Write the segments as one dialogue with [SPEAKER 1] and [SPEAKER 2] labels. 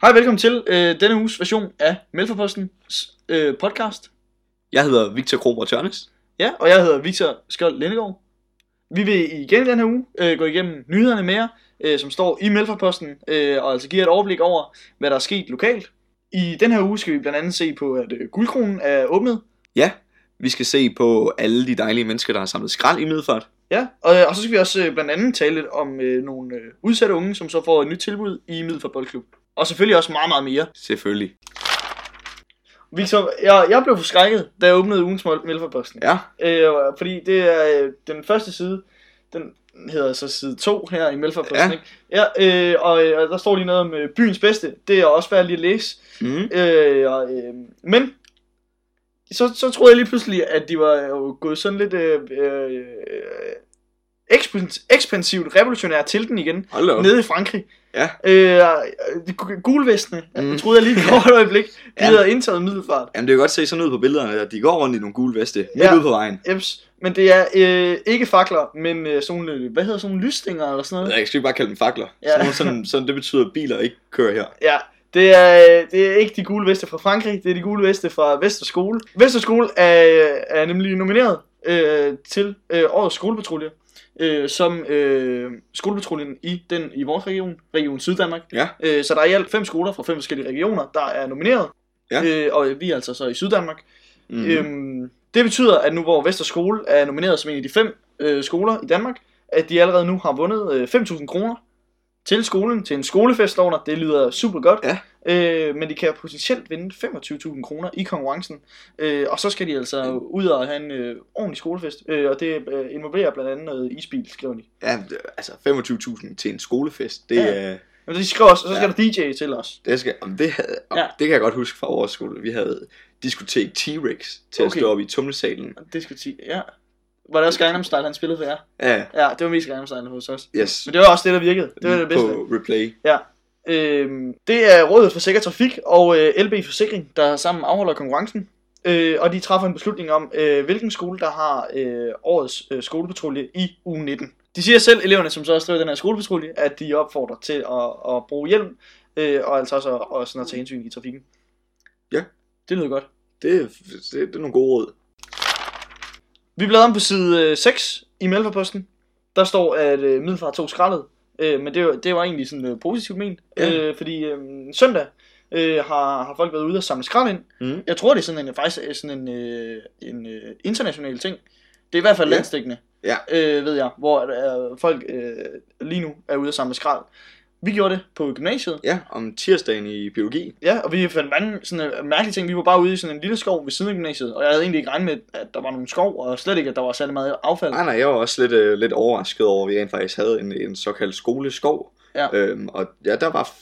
[SPEAKER 1] Hej og velkommen til øh, denne uges version af Melforpostens øh, podcast.
[SPEAKER 2] Jeg hedder Victor Kromer Tørnes.
[SPEAKER 1] Ja, og jeg hedder Victor Skjold Lindegård. Vi vil igen i den her uge øh, gå igennem nyhederne med jer, øh, som står i Melforposten, øh, og altså give jer et overblik over, hvad der er sket lokalt. I den her uge skal vi blandt andet se på, at øh, guldkronen er åbnet.
[SPEAKER 2] Ja, vi skal se på alle de dejlige mennesker, der har samlet skrald i Middelfart.
[SPEAKER 1] Ja, og, øh, og så skal vi også øh, blandt andet tale lidt om øh, nogle øh, udsatte unge, som så får et nyt tilbud i Middelfart Boldklub. Og selvfølgelig også meget, meget mere.
[SPEAKER 2] Selvfølgelig.
[SPEAKER 1] Victor, jeg, jeg blev forskrækket, da jeg åbnede ugens Melforposten.
[SPEAKER 2] Ja,
[SPEAKER 1] Øh, fordi det er øh, den første side, den hedder så side 2 her i Melfordposten,
[SPEAKER 2] Ja.
[SPEAKER 1] ikke? Ja, øh, og, øh, og der står lige noget om øh, byens bedste, det er også værd lige at læse.
[SPEAKER 2] mm.
[SPEAKER 1] Øh, og, øh, men, så, så troede jeg lige pludselig, at de var jo gået sådan lidt øh, øh, ekspans- ekspansivt revolutionært til den igen,
[SPEAKER 2] hold da op.
[SPEAKER 1] nede i Frankrig.
[SPEAKER 2] Ja.
[SPEAKER 1] Øh, øh, de gu- gulvestene, mm.
[SPEAKER 2] Mm.
[SPEAKER 1] troede jeg lige et kort øjeblik, de
[SPEAKER 2] Ja.
[SPEAKER 1] havde indtaget middelfart.
[SPEAKER 2] Jamen, det kan godt se sådan ud på billederne, at de går rundt i nogle gule veste, midt
[SPEAKER 1] Ja.
[SPEAKER 2] ude på vejen.
[SPEAKER 1] Eps, men det er øh, ikke fakler, men øh, sådan nogle, hvad hedder sådan nogle lysstænger eller sådan noget?
[SPEAKER 2] Jeg skal ikke bare kalde dem fakler.
[SPEAKER 1] Ja.
[SPEAKER 2] Ja. Sådan, sådan, sådan, det betyder, at biler ikke kører her.
[SPEAKER 1] Ja, det er, øh, det er ikke de gule veste fra Frankrig, det er de gule veste fra Vesterskole. Vesterskole er, øh, er nemlig nomineret øh, til øh, årets skolepatrulje, øh, som øh, skolepatruljen i den i vores region, Region Syddanmark.
[SPEAKER 2] Ja.
[SPEAKER 1] Øh, så der er i alt fem skoler fra fem forskellige regioner, der er nomineret.
[SPEAKER 2] Ja.
[SPEAKER 1] Øh, og vi er altså så i Syddanmark.
[SPEAKER 2] Mm.
[SPEAKER 1] Mm. Øhm, det betyder, at nu hvor Vester Skole er nomineret som en af de fem øh, skoler i Danmark, at de allerede nu har vundet øh, 5.000 kroner til skolen, til en skolefest under. Det lyder super godt.
[SPEAKER 2] Ja.
[SPEAKER 1] Øh, men de kan potentielt vinde 25.000 kroner i konkurrencen. Øh, og så skal de altså
[SPEAKER 2] Mm.
[SPEAKER 1] ud og have en øh, ordentlig skolefest. Øh, og det øh, involverer blandt andet noget isbil, skriver de.
[SPEAKER 2] Ja, det- altså 25.000 til en skolefest, det,
[SPEAKER 1] Ja.
[SPEAKER 2] ja.
[SPEAKER 1] Men de skriver også, og så skal
[SPEAKER 2] Ja.
[SPEAKER 1] der DJ til os.
[SPEAKER 2] det, skal, om det, havde, om,
[SPEAKER 1] Ja.
[SPEAKER 2] ja. det kan jeg godt huske fra vores skole. Vi havde diskotek T-Rex til okay. at
[SPEAKER 1] Okay.
[SPEAKER 2] stå op i tumlesalen.
[SPEAKER 1] Og Det skal de, ja. Var det også Gangnam Style, han spillede for jer?
[SPEAKER 2] Ja,
[SPEAKER 1] Ja, det var mest Gangnam Style hos os.
[SPEAKER 2] yes.
[SPEAKER 1] Men det var også det, der virkede. Det var det bedste.
[SPEAKER 2] På replay.
[SPEAKER 1] Øhm, det er Rådet for Sikker Trafik og øh, LB Forsikring, der sammen afholder konkurrencen. Øh, og de træffer en beslutning om, øh, hvilken skole, der har øh, årets øh, skolepatrulje i uge 19. De siger selv, eleverne, som så også driver den her skolepatrulje, at de opfordrer til at, at bruge hjelm, øh, og altså også at, og sådan at tage hensyn i trafikken.
[SPEAKER 2] Ja.
[SPEAKER 1] Det lyder godt.
[SPEAKER 2] Det, det, det er nogle gode råd.
[SPEAKER 1] Vi bladrer om på side øh, 6 i Melforposten. Der står, at øh, Middelfart tog skraldet. Øh, men det, var- det var egentlig sådan øh, positivt ment.
[SPEAKER 2] Ja.
[SPEAKER 1] Øh, fordi øh, søndag øh, har, har folk været ude og samle skrald ind.
[SPEAKER 2] Mm.
[SPEAKER 1] Jeg tror, det er sådan en, faktisk er sådan en, øh, en øh, international ting. Det er i hvert fald
[SPEAKER 2] Ja.
[SPEAKER 1] landstækkende,
[SPEAKER 2] Ja.
[SPEAKER 1] øh, ved jeg, hvor øh, folk øh, lige nu er ude og samle skrald. Vi gjorde det på gymnasiet,
[SPEAKER 2] Ja, om tirsdagen i biologi.
[SPEAKER 1] ja, og vi fandt mange sådan øh, mærkelige ting. Vi var bare ude i sådan en lille skov ved siden af gymnasiet, og jeg havde egentlig ikke regnet med, at der var nogen skov, og slet ikke, at der var særlig meget affald.
[SPEAKER 2] Nej, nej, jeg var også lidt, øh, lidt overrasket over, at vi rent faktisk havde en, en såkaldt skoleskov.
[SPEAKER 1] Ja.
[SPEAKER 2] Øhm, og ja, der var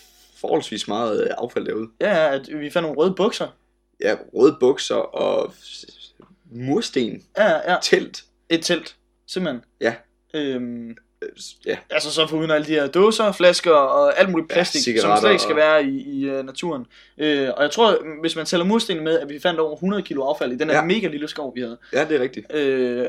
[SPEAKER 2] forholdsvis meget øh, affald derude.
[SPEAKER 1] Ja, ja, at vi fandt nogle røde bukser.
[SPEAKER 2] Ja, røde bukser og s- mursten,
[SPEAKER 1] Ja, ja, ja.
[SPEAKER 2] telt.
[SPEAKER 1] Et telt, simpelthen.
[SPEAKER 2] Ja.
[SPEAKER 1] Øhm,
[SPEAKER 2] Øh, s- Ja,
[SPEAKER 1] altså så foruden alle de her dåser, flasker og alt muligt
[SPEAKER 2] Ja,
[SPEAKER 1] plastik, ja, som
[SPEAKER 2] cigaretter
[SPEAKER 1] slet ikke skal
[SPEAKER 2] og-
[SPEAKER 1] være i, i øh, naturen. Øh, og jeg tror, hvis man tæller mursten med, at vi fandt over 100 kilo affald i den her ja.
[SPEAKER 2] Ja.
[SPEAKER 1] mega lille skov, vi havde.
[SPEAKER 2] ja det er rigtigt.
[SPEAKER 1] Øh, øh,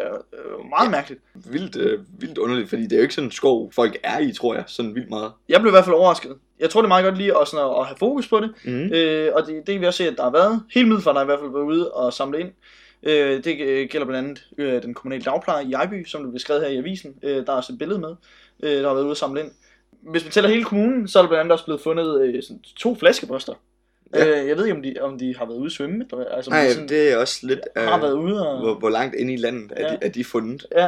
[SPEAKER 1] meget ja. mærkeligt.
[SPEAKER 2] Vildt, øh, vildt underligt, fordi det er jo ikke sådan en skov, folk er i, tror jeg, sådan vildt meget.
[SPEAKER 1] Jeg blev i hvert fald overrasket. Jeg tror, det er meget godt lige at, sådan at, at have fokus på det.
[SPEAKER 2] Mm.
[SPEAKER 1] Øh, og det, det kan vi også se, at der har været. Hele Middelfart har i hvert fald været ude og samle ind. Øh, det øh, gælder blandt andet øh, den kommunale dagpleje i Ejby, som det blev skrevet her i avisen. Øh, der er også et billede med, øh, der har været ude og samle ind. Hvis man tæller hele kommunen, så er der blandt andet også blevet fundet øh, sådan to flaskeposter. Ja.
[SPEAKER 2] Ja.
[SPEAKER 1] Øh, jeg ved ikke, om de, om de har været ude at svømme. Eller, altså, om
[SPEAKER 2] Nej,
[SPEAKER 1] de sådan, det,
[SPEAKER 2] det er også lidt, øh,
[SPEAKER 1] har været ude og...
[SPEAKER 2] hvor, hvor langt inde i landet er,
[SPEAKER 1] Ja.
[SPEAKER 2] de, er de fundet.
[SPEAKER 1] Ja.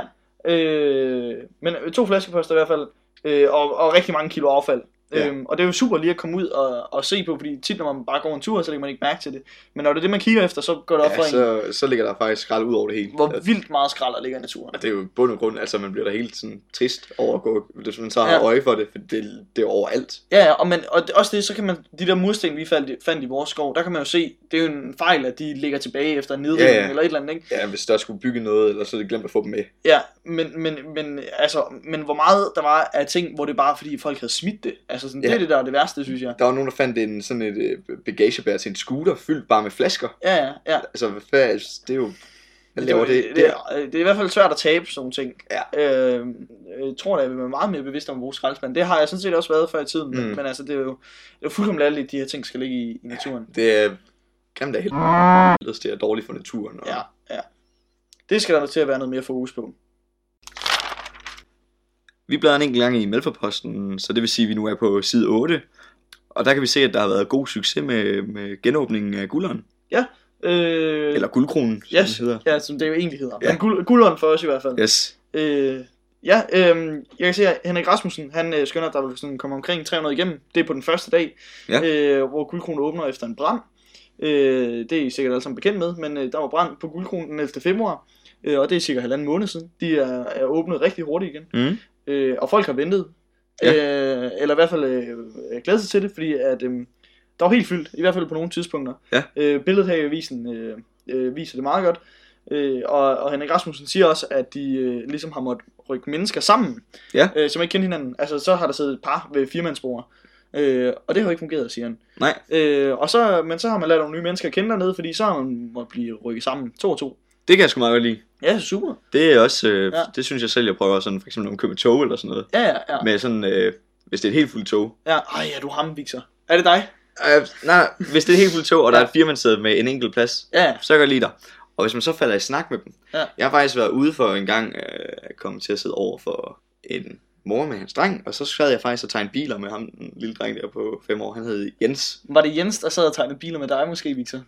[SPEAKER 1] Øh, men to flaskeposter i hvert fald, øh, og, og rigtig mange kilo affald. Ja.
[SPEAKER 2] Ja.
[SPEAKER 1] Øhm, og det er jo super lige at komme ud og, og se på, fordi tit når man bare går en tur, så lægger man ikke mærke til det. Men når det er det, man kigger efter, så går det op ja, for
[SPEAKER 2] Ja,
[SPEAKER 1] så... en,
[SPEAKER 2] så, så ligger der faktisk skrald ud over det hele.
[SPEAKER 1] hvor vildt meget skrald der ligger i naturen.
[SPEAKER 2] Og det er jo i bund og grund, altså man bliver da helt sådan trist over at gå, hvis man så har
[SPEAKER 1] Ja.
[SPEAKER 2] ja. øje for det, for det, det er overalt.
[SPEAKER 1] Ja, ja, og, man, og det, også det, så kan man, de der mursten, vi fandt, fandt i vores skov, der kan man jo se, det er jo en fejl, at de ligger tilbage efter en nedrivning ja,
[SPEAKER 2] Ja,
[SPEAKER 1] ja.
[SPEAKER 2] ja.
[SPEAKER 1] eller et eller andet, ikke?
[SPEAKER 2] Ja, hvis der skulle bygge noget, eller så er det glemt at få dem med.
[SPEAKER 1] Ja, men, men, men, altså, men hvor meget der var af ting, hvor det bare er, fordi folk havde smidt det. Altså sådan, ja. det
[SPEAKER 2] Ja.
[SPEAKER 1] er det, der er det værste, synes jeg.
[SPEAKER 2] Der var nogen, der fandt en, sådan et øh, bagagebær til en scooter, fyldt bare med flasker.
[SPEAKER 1] Ja, ja, ja.
[SPEAKER 2] Altså, hvad fanden, det er jo Jeg laver det,
[SPEAKER 1] det,
[SPEAKER 2] det,
[SPEAKER 1] er, det er i hvert fald svært at tabe sådan nogle ting.
[SPEAKER 2] Ja.
[SPEAKER 1] Øh, jeg tror da, jeg vil være meget mere bevidst om at bruge skraldespand. Det har jeg sådan set også været før i tiden, mm.
[SPEAKER 2] Mm.
[SPEAKER 1] men altså, det er jo, det er jo fuldkommen latterligt, at de her ting skal ligge i, i naturen.
[SPEAKER 2] det er grimt af helvede. Det er dårligt for naturen. Og
[SPEAKER 1] Ja, ja. Det skal der nok til at være noget mere fokus på.
[SPEAKER 2] Vi bladrer en enkelt gang i Malforposten, så det vil sige, at vi nu er på side 8. Og der kan vi se, at der har været god succes med, med genåbningen af gulderen.
[SPEAKER 1] Øh,
[SPEAKER 2] Eller guldkronen, som
[SPEAKER 1] Yes.
[SPEAKER 2] yes. det hedder.
[SPEAKER 1] Ja, som det jo egentlig hedder. Ja.
[SPEAKER 2] Ja.
[SPEAKER 1] Men guld, guldånd for os i hvert fald.
[SPEAKER 2] Yes.
[SPEAKER 1] Øh, ja, øh, jeg kan se, at Henrik Rasmussen, han øh, skønner, at der vil sådan komme omkring 300 igennem. Det er på den første dag,
[SPEAKER 2] Ja.
[SPEAKER 1] øh, hvor guldkronen åbner efter en brand. Øh, det er I sikkert alle sammen bekendt med, men øh, der var brand på guldkronen den 11. februar. Øh, og det er cirka halvanden måned siden. De er, er åbnet rigtig hurtigt igen.
[SPEAKER 2] Mm.
[SPEAKER 1] Øh, og folk har ventet.
[SPEAKER 2] Ja.
[SPEAKER 1] Øh, eller i hvert fald øh, glædet sig til det, fordi at, øh, der var helt fyldt, i hvert fald på nogle tidspunkter.
[SPEAKER 2] Ja.
[SPEAKER 1] Øh, billedet her i avisen øh, øh, viser det meget godt. Øh, og, og Henrik Rasmussen siger også, at de øh, ligesom har måttet rykke mennesker sammen,
[SPEAKER 2] Ja.
[SPEAKER 1] øh, som ikke kendte hinanden. Altså, så har der siddet et par ved firmandsbord. Øh, og det har jo ikke fungeret, siger han.
[SPEAKER 2] Nej.
[SPEAKER 1] Øh, og så, men så har man lavet nogle nye mennesker kende dernede, fordi så har man måttet blive rykket sammen to og to.
[SPEAKER 2] Det kan jeg sgu meget godt lide.
[SPEAKER 1] Ja, super.
[SPEAKER 2] Det er også, øh,
[SPEAKER 1] Ja.
[SPEAKER 2] ja. det synes jeg selv, jeg prøver sådan, for eksempel når man køber tog eller sådan noget.
[SPEAKER 1] Ja, ja, ja.
[SPEAKER 2] Med sådan, øh, hvis det er et helt fuldt tog.
[SPEAKER 1] ja. Ej, er du ham, Victor? Er det dig?
[SPEAKER 2] Øh, nej, hvis det er et helt fuldt tog, og der
[SPEAKER 1] Ja.
[SPEAKER 2] er et firmandssæde med en enkelt plads,
[SPEAKER 1] Ja,
[SPEAKER 2] så kan jeg lide dig. Og hvis man så falder i snak med dem.
[SPEAKER 1] Ja.
[SPEAKER 2] Jeg har faktisk været ude for en gang, øh, kommet til at sidde over for en mor med hans dreng, og så sad jeg faktisk og tegnede biler med ham, den lille dreng der på 5 år, han hed Jens.
[SPEAKER 1] Var det Jens, der sad og tegnede biler med dig måske, Victor?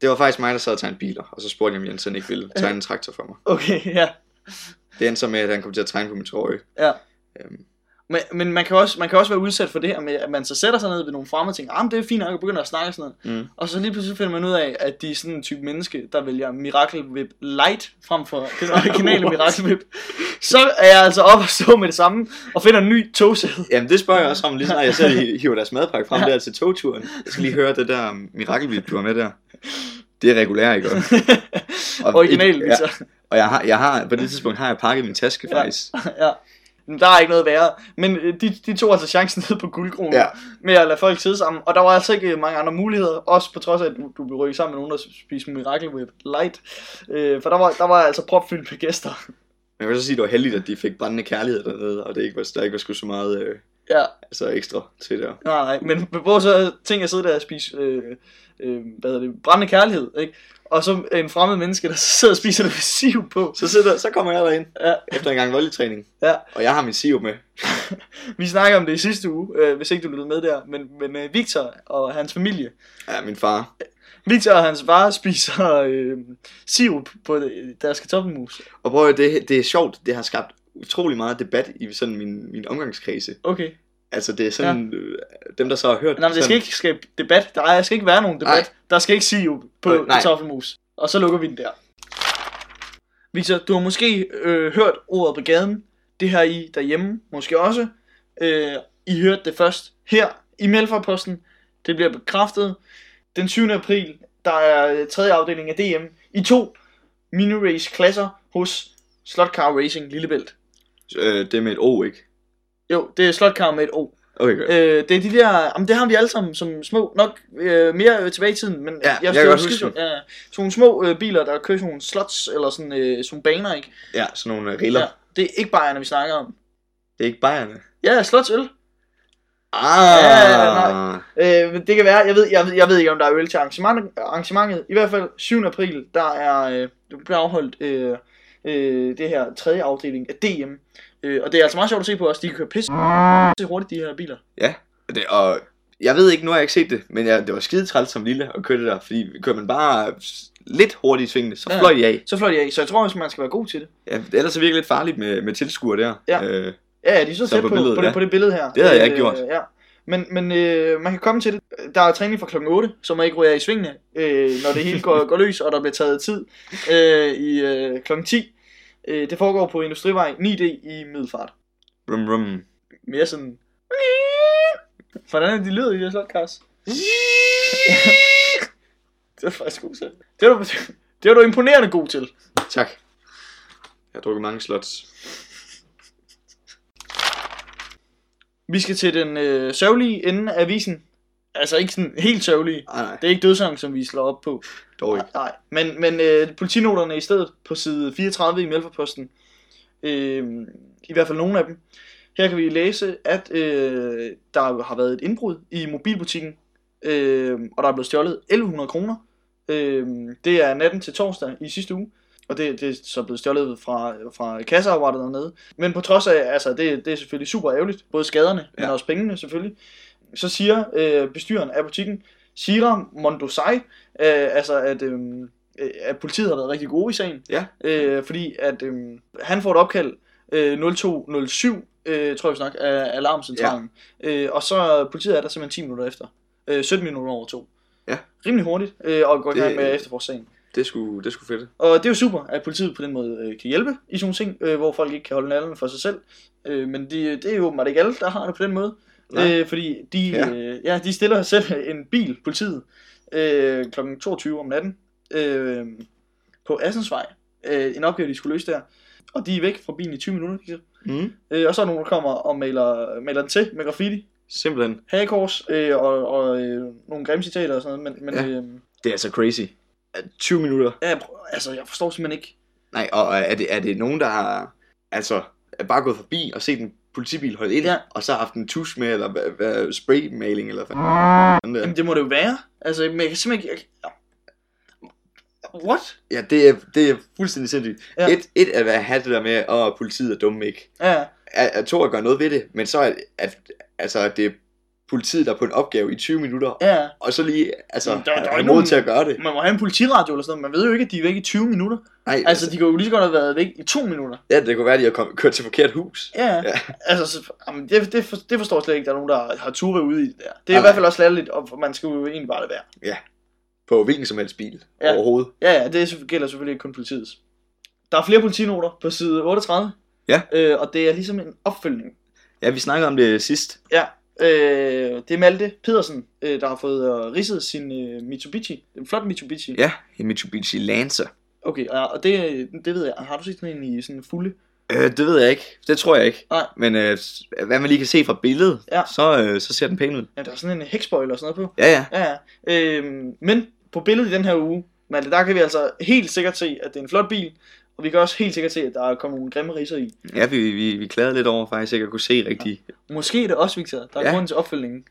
[SPEAKER 2] Det var faktisk mig, der sad og tegnede biler, og så spurgte jeg, om Jens han ikke ville tegne en traktor for mig.
[SPEAKER 1] Okay, ja.
[SPEAKER 2] Det endte så med, at han kom til at tegne på min trøje.
[SPEAKER 1] Ja.
[SPEAKER 2] Øhm,
[SPEAKER 1] Men, men man, kan også, man kan også være udsat for det her med, at man så sætter sig ned ved nogle fremmede og tænker, ah, men det er fint nok, og begynder at snakke sådan noget.
[SPEAKER 2] mm.
[SPEAKER 1] Og så lige pludselig finder man ud af, at de er sådan en type menneske, der vælger Miracle Whip Light frem for den originale
[SPEAKER 2] What?
[SPEAKER 1] Miracle Whip. Så er jeg altså op og stå med det samme, og finder en ny togsæde.
[SPEAKER 2] Jamen det spørger jeg også om, lige snart jeg selv hiver deres madpakke frem der til togturen. Jeg skal lige høre det der mirakelvip, du har med der. Det er regulært, ikke? også? Og-
[SPEAKER 1] Original,
[SPEAKER 2] ja,
[SPEAKER 1] Victor.
[SPEAKER 2] Og jeg har, jeg har, på det tidspunkt har jeg pakket min taske
[SPEAKER 1] Ja.
[SPEAKER 2] faktisk.
[SPEAKER 1] Ja. Men Der er ikke noget værre. Men øh, de, de tog altså chancen ned på guldkronen ja.
[SPEAKER 2] Ja.
[SPEAKER 1] med at lade folk sidde sammen. Og der var altså ikke øh, mange andre muligheder. Også på trods af, at du, du blev rykket sammen med nogen, der spiste Miracle Whip Light. Øh, for der var, der var altså propfyldt med gæster.
[SPEAKER 2] Men jeg vil så sige, at det var heldigt, at de fik brændende kærlighed dernede, og det ikke var, der ikke var sgu så meget øh,
[SPEAKER 1] Ja,
[SPEAKER 2] altså ekstra til der.
[SPEAKER 1] nej, nej. Men hvor så ting at sidde der og spise, øh, øh, hvad hedder det, brændende kærlighed, ikke? Og så en fremmed menneske, der sidder og spiser noget siv på.
[SPEAKER 2] Så, sidder, så kommer jeg derind
[SPEAKER 1] Ja.
[SPEAKER 2] efter en gang voldtræning,
[SPEAKER 1] Ja.
[SPEAKER 2] og jeg har min sirup med.
[SPEAKER 1] Vi snakkede om det i sidste uge, øh, hvis ikke du lyttede med der. Men, men øh, Victor og hans familie,
[SPEAKER 2] Ja, min far.
[SPEAKER 1] Victor og hans far spiser øh, sirup på øh, deres kartoffelmus.
[SPEAKER 2] Og prøv at høre, det, det er sjovt, det har skabt utrolig meget debat i sådan min, min omgangskredse.
[SPEAKER 1] Okay.
[SPEAKER 2] Altså det er sådan, ja. øh, dem der så har hørt
[SPEAKER 1] Nej, men det skal
[SPEAKER 2] sådan,
[SPEAKER 1] ikke skabe debat. Der er- skal ikke være nogen debat. Nej. Der skal ikke sirup på
[SPEAKER 2] Øh, nej.
[SPEAKER 1] kartoffelmus. Og så lukker vi den der. Victor, du har måske øh, hørt ordet brigaden. Det her I derhjemme måske også. Øh, I hørte det først her i Melfarposten. Det bliver bekræftet. Den 7. april, der er øh, tredje afdeling af DM i to mini-race klasser hos Slotcar Racing Lillebælt.
[SPEAKER 2] øh, det er med et O, ikke?
[SPEAKER 1] Jo, det er Slotcar med et O.
[SPEAKER 2] Okay, godt.
[SPEAKER 1] Øh, det er de der, jamen det har vi alle sammen som små, nok øh, mere øh, tilbage i tiden, men
[SPEAKER 2] Ja, jeg
[SPEAKER 1] skal
[SPEAKER 2] kan godt
[SPEAKER 1] huske
[SPEAKER 2] huske
[SPEAKER 1] sådan- ja, sådan nogle små øh, biler, der kører sådan nogle slots, eller sådan, øh, sådan nogle baner, ikke?
[SPEAKER 2] Ja, sådan nogle øh, riller.
[SPEAKER 1] Ja,
[SPEAKER 2] Ja.
[SPEAKER 1] det er ikke bajerne, vi snakker om.
[SPEAKER 2] Det er ikke bajerne.
[SPEAKER 1] Ja, slotsøl.
[SPEAKER 2] Ah,
[SPEAKER 1] Ja, nej. Øh, men det kan være, jeg ved, jeg, ved, jeg ved ikke, om der er øl til arrangement, arrangementet. I hvert fald 7. april, der er øh, der bliver afholdt øh, øh, det her tredje afdeling af DM. Øh, og det er altså meget sjovt at se på os, de kører pisse hurtigt, de her biler.
[SPEAKER 2] Det, og jeg ved ikke, nu har jeg ikke set det, men jeg, det var skide træls som lille at køre det der, fordi kører man bare lidt hurtigt i svingene, så
[SPEAKER 1] Ja.
[SPEAKER 2] fløj de af.
[SPEAKER 1] Så flot de af, så jeg tror også, man skal være god til det.
[SPEAKER 2] Ja, ellers er det virkelig lidt farligt med, med tilskuer der.
[SPEAKER 1] Ja.
[SPEAKER 2] Øh,
[SPEAKER 1] Ja, ja, de er så,
[SPEAKER 2] Så
[SPEAKER 1] tæt på, på,
[SPEAKER 2] på billedet,
[SPEAKER 1] det,
[SPEAKER 2] ja.
[SPEAKER 1] på det billede her. Øh,
[SPEAKER 2] Det havde jeg ikke gjort.
[SPEAKER 1] Ja. Men, men øh, man kan komme til det. Der er træning fra klokken 8, så man ikke ryger i svingene, øh, når det hele går, går løs, og der bliver taget tid øh, i øh, klokken 10. Øh, det foregår på Industrivej 9D i Middelfart.
[SPEAKER 2] rum, rum.
[SPEAKER 1] Mere sådan... Hvordan er de lyder i det slot, Kars? Det er du faktisk god til. Det var, du, det var du imponerende god til.
[SPEAKER 2] Tak. Jeg har drukket mange slots.
[SPEAKER 1] Vi skal til den øh, sørgelige ende af avisen. altså ikke sådan helt sørgelige.
[SPEAKER 2] Nej, Ah, nej,
[SPEAKER 1] Det er ikke dødsang, som vi slår op på.
[SPEAKER 2] dog ikke.
[SPEAKER 1] Nej, nej. Men, men øh, politinoterne i stedet på side 34 i Mælferposten, øh, i hvert fald nogle af dem, her kan vi læse, at øh, der har været et indbrud i mobilbutikken, øh, og der er blevet stjålet 1100 kroner. Øh, det er natten til torsdag i sidste uge, og det, det er så blevet stjålet fra, fra kasseapparatet dernede. Men på trods af, altså det, det er selvfølgelig super ærgerligt, både skaderne, ja. men
[SPEAKER 2] Ja.
[SPEAKER 1] også pengene selvfølgelig, så siger øh, bestyren af butikken, Shira Mondosai, Øh, altså at, øhm, øh, at politiet har været rigtig gode i sagen.
[SPEAKER 2] Ja.
[SPEAKER 1] Øh, fordi at øhm, han får et opkald øh, 0207, øh, tror jeg vi snakker, af alarmcentralen. Ja. Øh, og så øh, politiet er der simpelthen 10 minutter efter. Øh, 17 minutter over to.
[SPEAKER 2] Ja.
[SPEAKER 1] Rimelig hurtigt, øh, og går i
[SPEAKER 2] Det-
[SPEAKER 1] gang med at efterforske sagen.
[SPEAKER 2] Det skulle, det skulle fedt.
[SPEAKER 1] Og det er jo super, at politiet på den måde øh, kan hjælpe i sådan nogle ting, øh, hvor folk ikke kan holde nallerne for sig selv. Øh, men de, det er jo åbenbart ikke alle, der har det på den måde.
[SPEAKER 2] Nej.
[SPEAKER 1] Øh, fordi de, ja.
[SPEAKER 2] Ja.
[SPEAKER 1] Øh, ja, de stiller selv en bil, politiet, øh, kl. 22 om natten øh, på Assensvej. Øh, en opgave, de skulle løse der. Og de er væk fra bilen i 20 minutter. Ikke?
[SPEAKER 2] Mm.
[SPEAKER 1] Øh, og så er der nogen, der kommer og maler, maler den til med graffiti,
[SPEAKER 2] Simpelthen.
[SPEAKER 1] hagekors øh, og, og øh, nogle grimme citater og sådan noget. Men, men ja.
[SPEAKER 2] Ja.
[SPEAKER 1] Øh,
[SPEAKER 2] Det er så crazy. At 20 minutter.
[SPEAKER 1] jeg, altså, jeg forstår simpelthen ikke.
[SPEAKER 2] Nej, og er det, er det nogen, der har altså, er bare gået forbi og set en politibil holde ind,
[SPEAKER 1] Ja.
[SPEAKER 2] ja. og så har haft en tusch med, eller hvad, hvad, spraymaling, eller hvad fanden der.
[SPEAKER 1] Jamen, det må det jo være. Altså, men jeg kan simpelthen ikke... Jeg... What?
[SPEAKER 2] Ja, det er, det er fuldstændig sindssygt.
[SPEAKER 1] Ja.
[SPEAKER 2] Ja. Et, et at være- have det der med, at politiet er dumme, ikke?
[SPEAKER 1] Ja,
[SPEAKER 2] At, at to at gøre noget ved det, men så at, at, altså, at det er politiet, der er på en opgave i 20 minutter,
[SPEAKER 1] ja.
[SPEAKER 2] og så lige altså,
[SPEAKER 1] Jamen, der- der er
[SPEAKER 2] have
[SPEAKER 1] ikke
[SPEAKER 2] mod
[SPEAKER 1] nogen-
[SPEAKER 2] til at gøre det.
[SPEAKER 1] Man må have en politiradio eller sådan noget. Man ved jo ikke, at de er væk i 20 minutter.
[SPEAKER 2] Nej,
[SPEAKER 1] Altså, de kunne jo lige så godt have været væk i to minutter.
[SPEAKER 2] ja, det kunne være, at de har kommet, kørt til forkert hus.
[SPEAKER 1] Ja,
[SPEAKER 2] Ja.
[SPEAKER 1] altså, så, jamen, det, det, for, det forstår jeg slet ikke, der er nogen, der har ture ude i det der. Det er i
[SPEAKER 2] Nej.
[SPEAKER 1] hvert fald også latterligt, og for- man skal jo egentlig bare lade være.
[SPEAKER 2] På hvilken som helst bil
[SPEAKER 1] Ja.
[SPEAKER 2] ja. overhovedet.
[SPEAKER 1] Ja, ja, det er selvfø- gælder selvfølgelig ikke kun politiets. Der er flere politinoter på side 38.
[SPEAKER 2] Ja.
[SPEAKER 1] Øh, og det er ligesom en opfølgning.
[SPEAKER 2] Ja, vi snakkede om det sidst.
[SPEAKER 1] Øh, det er Malte Pedersen, øh, der har fået øh, ridset sin øh, Mitsubishi. En flot Mitsubishi.
[SPEAKER 2] Ja, en Mitsubishi Lancer.
[SPEAKER 1] Okay, og, og det, det ved jeg. Har du set sådan en i sådan fulde?
[SPEAKER 2] Øh, det ved jeg ikke. Det tror jeg ikke.
[SPEAKER 1] Nej.
[SPEAKER 2] Men øh, hvad man lige kan se fra billedet,
[SPEAKER 1] Ja.
[SPEAKER 2] så, øh, så ser den pæn ud.
[SPEAKER 1] Ja, der er sådan en hækspoil og sådan noget på.
[SPEAKER 2] Ja, ja.
[SPEAKER 1] Ja, ja. Øhm, men på billedet i den her uge, Malte, der kan vi altså helt sikkert se, at det er en flot bil. Og vi kan også helt sikkert se, at der er kommet nogle grimme riser i.
[SPEAKER 2] Ja, vi, vi, vi klagede lidt over faktisk ikke at kunne se rigtig.
[SPEAKER 1] Måske er det også, Victor, der er ja.
[SPEAKER 2] Ja.
[SPEAKER 1] grund til opfølgningen.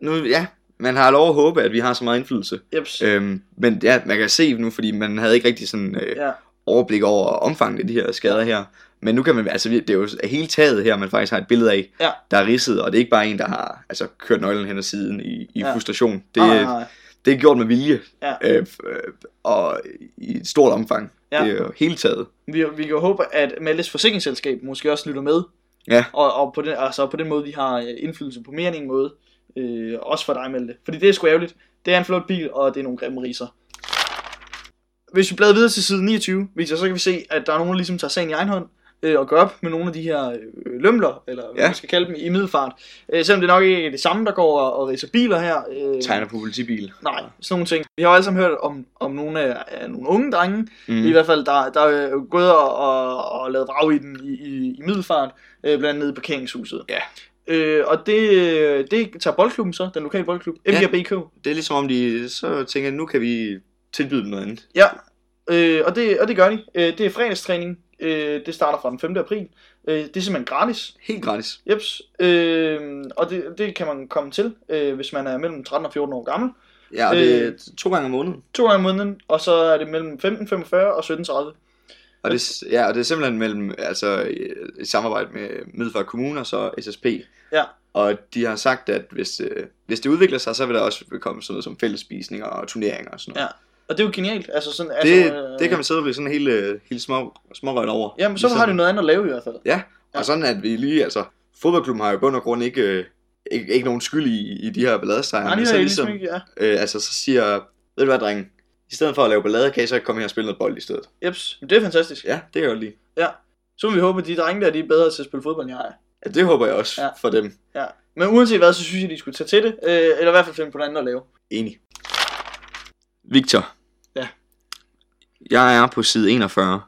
[SPEAKER 2] Nu, ja, man har lov at håbe, at vi har så meget indflydelse.
[SPEAKER 1] Jeps. Øh.
[SPEAKER 2] Øhm, men ja, man kan se nu, fordi man havde ikke rigtig sådan øh,
[SPEAKER 1] Ja.
[SPEAKER 2] ja. overblik over omfanget af de her skader her. Men nu kan man, altså vi- det er jo hele taget her, man faktisk har et billede af,
[SPEAKER 1] Ja.
[SPEAKER 2] der er ridset, og det er ikke bare en, der har altså, kørt nøglen hen ad siden i, i
[SPEAKER 1] Ja.
[SPEAKER 2] ja. frustration. Det,
[SPEAKER 1] nej, nej, nej.
[SPEAKER 2] det er gjort med vilje,
[SPEAKER 1] Ja.
[SPEAKER 2] øh, f- øh, og i et stort omfang.
[SPEAKER 1] Ja.
[SPEAKER 2] Ja. Det er jo hele taget.
[SPEAKER 1] Vi, vi kan jo håbe, at Maltes forsikringsselskab måske også lytter med.
[SPEAKER 2] Ja.
[SPEAKER 1] Og, og på, den, altså på den måde, vi har øh, indflydelse på mere end en måde. Øh, også for dig, Malte. Fordi det er sgu ærgerligt. Det er en flot bil, og det er nogle grimme riser. Hvis vi bladrer videre til side 29, Victor, så kan vi se, at der er nogen, der ligesom tager sagen i egen hånd øh, og gør op med nogle af de her øh, lømler, eller hvad
[SPEAKER 2] Ja.
[SPEAKER 1] man skal kalde dem, i middelfart. Øh, selvom det nok ikke er det samme, der går og, og riser biler her. Øh,
[SPEAKER 2] Tegner på politibil.
[SPEAKER 1] Nej, sådan nogle ting. Vi har jo alle sammen hørt om, om nogle af, af nogle unge drenge, Mm. I
[SPEAKER 2] Mm.
[SPEAKER 1] hvert fald, der, der er jo gået og, og, og lavet vrag i den i, i, i middelfart, øh, blandt andet nede i parkeringshuset.
[SPEAKER 2] Ja.
[SPEAKER 1] Øh, og det, det tager boldklubben så, den lokale boldklub,
[SPEAKER 2] Ja.
[SPEAKER 1] FGBK. Ja.
[SPEAKER 2] Det er ligesom om de så tænker, nu kan vi tilbyde dem noget andet.
[SPEAKER 1] ja. Øh, og, det, og det gør de. Øh, det er fredagstræning. Øh, det starter fra den 5. april. Øh, det er simpelthen gratis.
[SPEAKER 2] Helt gratis.
[SPEAKER 1] Jeps. Øh, og det, det kan man komme til, øh, hvis man er mellem 13 og 14 år gammel.
[SPEAKER 2] Ja, og det
[SPEAKER 1] Øh.
[SPEAKER 2] er to gange om måneden.
[SPEAKER 1] To gange om måneden, og så er det mellem 15.45 og 17.30.
[SPEAKER 2] Og det, ja, og det er simpelthen mellem, altså øh, i samarbejde med Middelfart Kommune og så SSP.
[SPEAKER 1] Ja.
[SPEAKER 2] Og de har sagt, at hvis, øh, hvis det udvikler sig, så vil der også komme sådan noget som fællesspisninger og turneringer og sådan noget.
[SPEAKER 1] Og det er jo genialt. Altså sådan,
[SPEAKER 2] Det,
[SPEAKER 1] altså, øh,
[SPEAKER 2] det kan man sidde og blive sådan helt, øh, helt små, smårødt over. Ligesom-
[SPEAKER 1] Jamen, så har de noget andet at lave i hvert fald. ja.
[SPEAKER 2] Og sådan at vi lige, altså, fodboldklubben har jo i bund og grund ikke, øh, ikke, ikke nogen skyld i, i de her balladestejre.
[SPEAKER 1] Nej,
[SPEAKER 2] men
[SPEAKER 1] det
[SPEAKER 2] så
[SPEAKER 1] er ligesom ikke, ja.
[SPEAKER 2] øh, altså, så siger, ved du hvad, drenge, i stedet for at lave ballader, kan I så komme her og spille noget bold i stedet.
[SPEAKER 1] Jeps, men det er fantastisk.
[SPEAKER 2] Ja, det kan jeg godt lide.
[SPEAKER 1] Så må vi håbe, at de drenge der, de er bedre til at spille fodbold, end jeg er.
[SPEAKER 2] Ja, det håber jeg også
[SPEAKER 1] Ja.
[SPEAKER 2] ja. for dem.
[SPEAKER 1] Men uanset hvad, så synes jeg, de skulle tage til det. Øh, eller i hvert fald finde på noget andet at lave.
[SPEAKER 2] Enig. Victor.
[SPEAKER 1] Ja.
[SPEAKER 2] Jeg er på side 41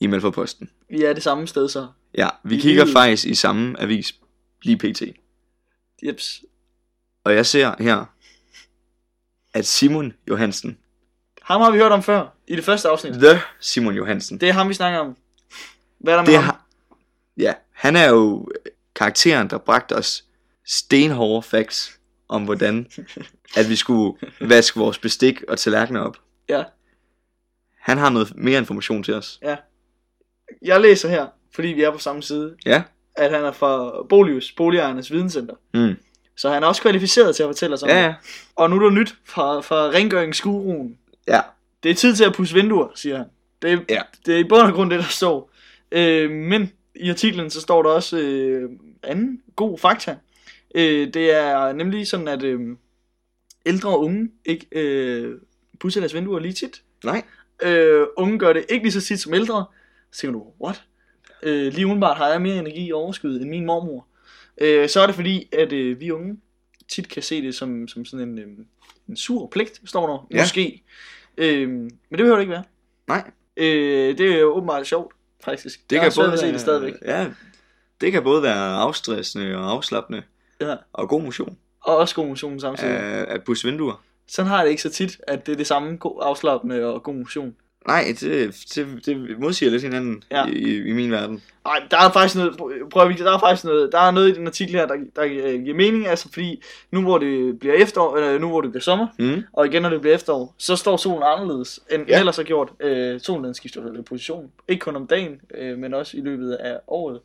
[SPEAKER 2] i Malforposten.
[SPEAKER 1] Vi er det samme sted, så.
[SPEAKER 2] Ja, vi
[SPEAKER 1] I
[SPEAKER 2] kigger
[SPEAKER 1] hele-
[SPEAKER 2] faktisk i samme avis lige pt.
[SPEAKER 1] Jeps.
[SPEAKER 2] Og jeg ser her, at Simon Johansen,
[SPEAKER 1] Ham har vi hørt om før, i det første afsnit.
[SPEAKER 2] The Simon Johansen,
[SPEAKER 1] Det er ham, vi snakker om. Hvad er der med
[SPEAKER 2] det
[SPEAKER 1] ham?
[SPEAKER 2] har, ja, han er jo øh, karakteren, der bragte os stenhårde facts om, hvordan at vi skulle vaske vores bestik og tallerkener op.
[SPEAKER 1] Ja.
[SPEAKER 2] Han har noget mere information til os.
[SPEAKER 1] Jeg læser her, fordi vi er på samme side,
[SPEAKER 2] Ja.
[SPEAKER 1] at han er fra Bolius, Boligejernes Videnscenter.
[SPEAKER 2] Mm.
[SPEAKER 1] Så han er også kvalificeret til at fortælle os om
[SPEAKER 2] Ja,
[SPEAKER 1] det.
[SPEAKER 2] ja.
[SPEAKER 1] Og nu er der nyt fra, fra rengøringsguruen.
[SPEAKER 2] Ja.
[SPEAKER 1] Det er tid til at pusse vinduer, siger han. Det er,
[SPEAKER 2] Ja.
[SPEAKER 1] det er i bund og grund det, der står. Øh, men i artiklen, så står der også øh, anden god fakta. Øh, det er nemlig sådan, at øh, ældre og unge ikke øh, pudser deres vinduer lige tit.
[SPEAKER 2] Nej.
[SPEAKER 1] Øh, unge gør det ikke lige så tit som ældre. Så tænker du, what? Øh, lige udenbart har jeg mere energi i overskud end min mormor. Øh, så er det fordi, at øh, vi unge tit kan se det som, som sådan en, øh, en sur pligt, står der.
[SPEAKER 2] Ja.
[SPEAKER 1] Måske. Øh, men det behøver det ikke være.
[SPEAKER 2] Nej.
[SPEAKER 1] Øh, det er jo åbenbart sjovt, faktisk.
[SPEAKER 2] Det
[SPEAKER 1] jeg
[SPEAKER 2] kan
[SPEAKER 1] har svært
[SPEAKER 2] både
[SPEAKER 1] ved at se
[SPEAKER 2] være,
[SPEAKER 1] det stadigvæk.
[SPEAKER 2] Ja, det kan både være afstressende og afslappende
[SPEAKER 1] Ja.
[SPEAKER 2] og god motion
[SPEAKER 1] Og også god motion samtidig. Øh.
[SPEAKER 2] øh, at pusse vinduer.
[SPEAKER 1] Sådan har jeg det ikke så tit, at det er det samme god, afslappende og god motion.
[SPEAKER 2] Nej, det, det, det modsiger lidt hinanden
[SPEAKER 1] Ja.
[SPEAKER 2] ja. i, i min verden.
[SPEAKER 1] Nej, der er faktisk noget, prøv at Victor, der er faktisk noget, der er noget i den artikel her, der, der øh, giver mening, altså fordi nu hvor det bliver efterår, eller nu hvor det bliver sommer,
[SPEAKER 2] Mm.
[SPEAKER 1] og igen når det bliver efterår, så står solen anderledes, end ja.
[SPEAKER 2] Ja.
[SPEAKER 1] ellers har gjort. Øh, solen den skifter lidt position, ikke kun om dagen, øh, men også i løbet af året.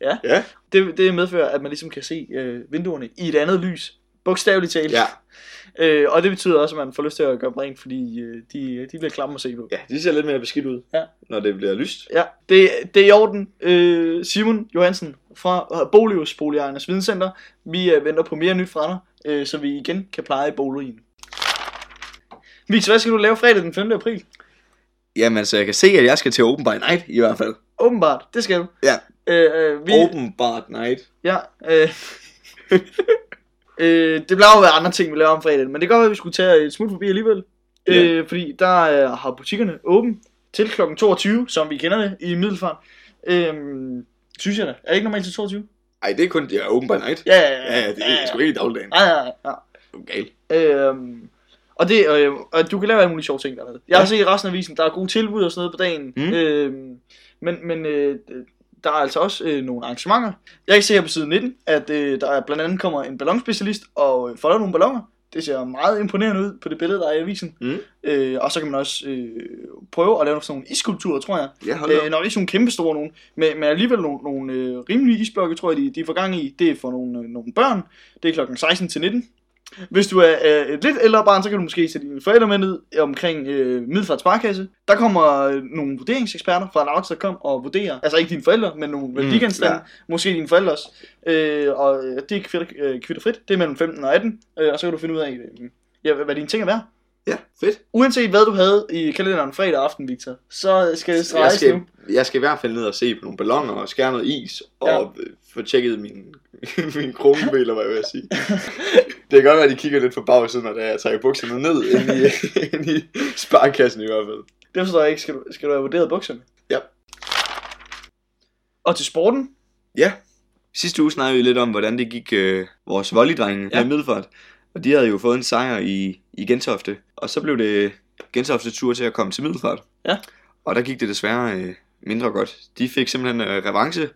[SPEAKER 1] Ja.
[SPEAKER 2] Ja.
[SPEAKER 1] Det, det medfører, at man ligesom kan se øh, vinduerne i et andet lys, bogstaveligt talt.
[SPEAKER 2] Ja.
[SPEAKER 1] Øh, og det betyder også, at man får lyst til at gøre dem rent, fordi øh, de, de bliver klamme at se på.
[SPEAKER 2] ja, de ser lidt mere beskidt ud,
[SPEAKER 1] Ja.
[SPEAKER 2] når det bliver lyst.
[SPEAKER 1] Ja, det, det er i orden. Øh, Simon Johansen fra øh, Bolius Boligejernes Videnscenter. Vi øh, venter på mere nyt fra dig, øh, så vi igen kan pleje boligen. Vix, hvad skal du lave fredag den 5. april?
[SPEAKER 2] Jamen, altså, jeg kan se, at jeg skal til Open by Night, i hvert fald.
[SPEAKER 1] Åbenbart, det skal du.
[SPEAKER 2] Ja.
[SPEAKER 1] Øh, øh, vi,
[SPEAKER 2] Vi... Open Bar Night.
[SPEAKER 1] ja, øh, øh, det plejer jo at være andre ting, vi laver om fredagen, men det kan godt være, at vi skulle tage et smut forbi alligevel.
[SPEAKER 2] Ja.
[SPEAKER 1] Øh, fordi der øh, har butikkerne åben til kl. 22, som vi kender det i Middelfart. Øh, synes jeg da. Er det ikke normalt til 22?
[SPEAKER 2] Ej, det er kun ja, Open by Night.
[SPEAKER 1] Ja, ja,
[SPEAKER 2] Ja, det er sgu ikke i dagligdagen.
[SPEAKER 1] Ja, ja, ja.
[SPEAKER 2] Du er gal.
[SPEAKER 1] Øhm, og det, øh, og du kan lave alle mulige sjove ting dernede. Jeg har
[SPEAKER 2] Ja.
[SPEAKER 1] set i resten af avisen, der er gode tilbud og sådan noget på dagen.
[SPEAKER 2] Mm.
[SPEAKER 1] Øhm, men men øh, der er altså også øh, nogle arrangementer. Jeg kan se her på side 19, at øh, der er blandt andet kommer en ballonspecialist og øh, folder nogle balloner. Det ser meget imponerende ud på det billede, der er i avisen.
[SPEAKER 2] Mm.
[SPEAKER 1] Øh, og så kan man også øh, prøve at lave sådan nogle iskulpturer, tror jeg.
[SPEAKER 2] Ja, hold da
[SPEAKER 1] Øh,
[SPEAKER 2] op.
[SPEAKER 1] nok ikke sådan nogle kæmpe store nogen, men, men alligevel nogle, nogle øh, rimelige isblokke, tror jeg, de, de får gang i. Det er for nogle, øh, nogle børn. Det er klokken 16 til 19. Hvis du er øh, et lidt ældre barn, så kan du måske sætte dine forældre med ned omkring øh, Middelfart Sparkasse. Der kommer øh, nogle vurderingseksperter fra Lauts, der kom og vurderer, altså ikke dine forældre, men nogle værdigenstande,
[SPEAKER 2] Mm, ja.
[SPEAKER 1] måske dine forældre også. Øh, og øh, det er kvitter, øh, kvitterfrit, det er mellem 15 og 18, øh, og så kan du finde ud af, øh, ja, hvad- hvad dine ting er værd.
[SPEAKER 2] Ja, fedt.
[SPEAKER 1] Uanset hvad du havde i kalenderen fredag aften, Victor, så skal det
[SPEAKER 2] jeg
[SPEAKER 1] streges nu.
[SPEAKER 2] skal, jeg skal i hvert fald ned og se på nogle ballonger og skære noget is og
[SPEAKER 1] Ja.
[SPEAKER 2] ja. få tjekket min, min krumpe, eller hvad jeg vil sige. Det kan godt være, at de kigger lidt på bagsiden, når det er, jeg trækker bukserne ned ind i, ind i sparkassen i hvert fald.
[SPEAKER 1] Det forstår jeg ikke. Skal du, skal du have vurderet bukserne?
[SPEAKER 2] Ja.
[SPEAKER 1] Og til sporten?
[SPEAKER 2] Ja. Sidste uge snakkede vi lidt om, hvordan det gik øh, vores volleydrenge ja.
[SPEAKER 1] Ja.
[SPEAKER 2] her i Middelfart. Og de havde jo fået en sejr i, i Gentofte. Og så blev det Gentofte tur til at komme til Middelfart.
[SPEAKER 1] Ja.
[SPEAKER 2] Og der gik det desværre øh, mindre godt. De fik simpelthen øh, revanche.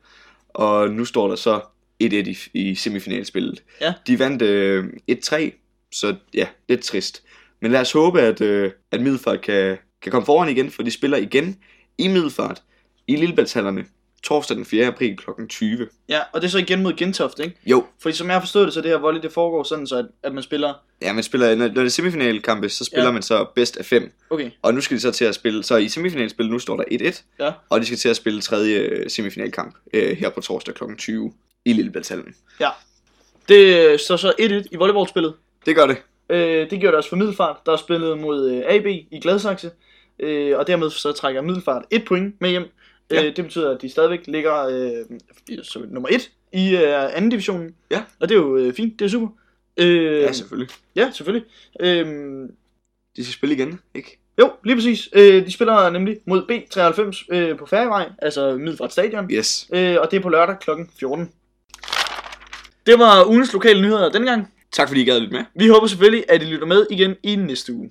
[SPEAKER 2] Og nu står der så 1-1 i, i semifinalspillet.
[SPEAKER 1] Ja.
[SPEAKER 2] De vandt øh, 1-3. Så ja, lidt trist. Men lad os håbe, at, øh, at Middelfart kan, kan komme foran igen, for de spiller igen i Middelfart i Lillebæltshallerne torsdag den 4. april kl. 20.
[SPEAKER 1] Ja, og det er så igen mod Gentofte, ikke?
[SPEAKER 2] Jo,
[SPEAKER 1] Fordi som jeg har forstået det, så det her volley, det foregår sådan, så at, at man spiller...
[SPEAKER 2] ja, man spiller, når, når det er semifinalkampe, så spiller
[SPEAKER 1] Ja.
[SPEAKER 2] ja. man så bedst af fem.
[SPEAKER 1] Okay,
[SPEAKER 2] Og nu skal de så til at spille, så i semifinalspillet nu står der 1-1,
[SPEAKER 1] Ja.
[SPEAKER 2] og de skal til at spille tredje øh, semifinalkamp øh, her på torsdag kl. 20 i Lillebæltshallen.
[SPEAKER 1] det øh, står så 1-1 i volleyballspillet.
[SPEAKER 2] Det gør det.
[SPEAKER 1] Øh, det gjorde det også for Middelfart, der er spillet mod øh, AB i Gladsaxe. Øh, og dermed så trækker Middelfart et point med hjem.
[SPEAKER 2] Ja.
[SPEAKER 1] Øh, det betyder, at de stadigvæk ligger øh, som nummer 1 i øh, anden divisionen.
[SPEAKER 2] Ja.
[SPEAKER 1] Og det er jo øh, fint, det er super. Øh,
[SPEAKER 2] Ja, selvfølgelig.
[SPEAKER 1] ja, selvfølgelig. Øh,
[SPEAKER 2] De skal spille igen, ikke?
[SPEAKER 1] Jo, lige præcis. Øh, de spiller nemlig mod B93 øh, på Færgevej, altså Middelfart Stadion.
[SPEAKER 2] Yes.
[SPEAKER 1] Øh, og det er på lørdag kl. 14. Det var ugens lokale nyheder dengang.
[SPEAKER 2] Tak fordi I gad lidt med.
[SPEAKER 1] Vi håber selvfølgelig, at I lytter med igen i næste uge.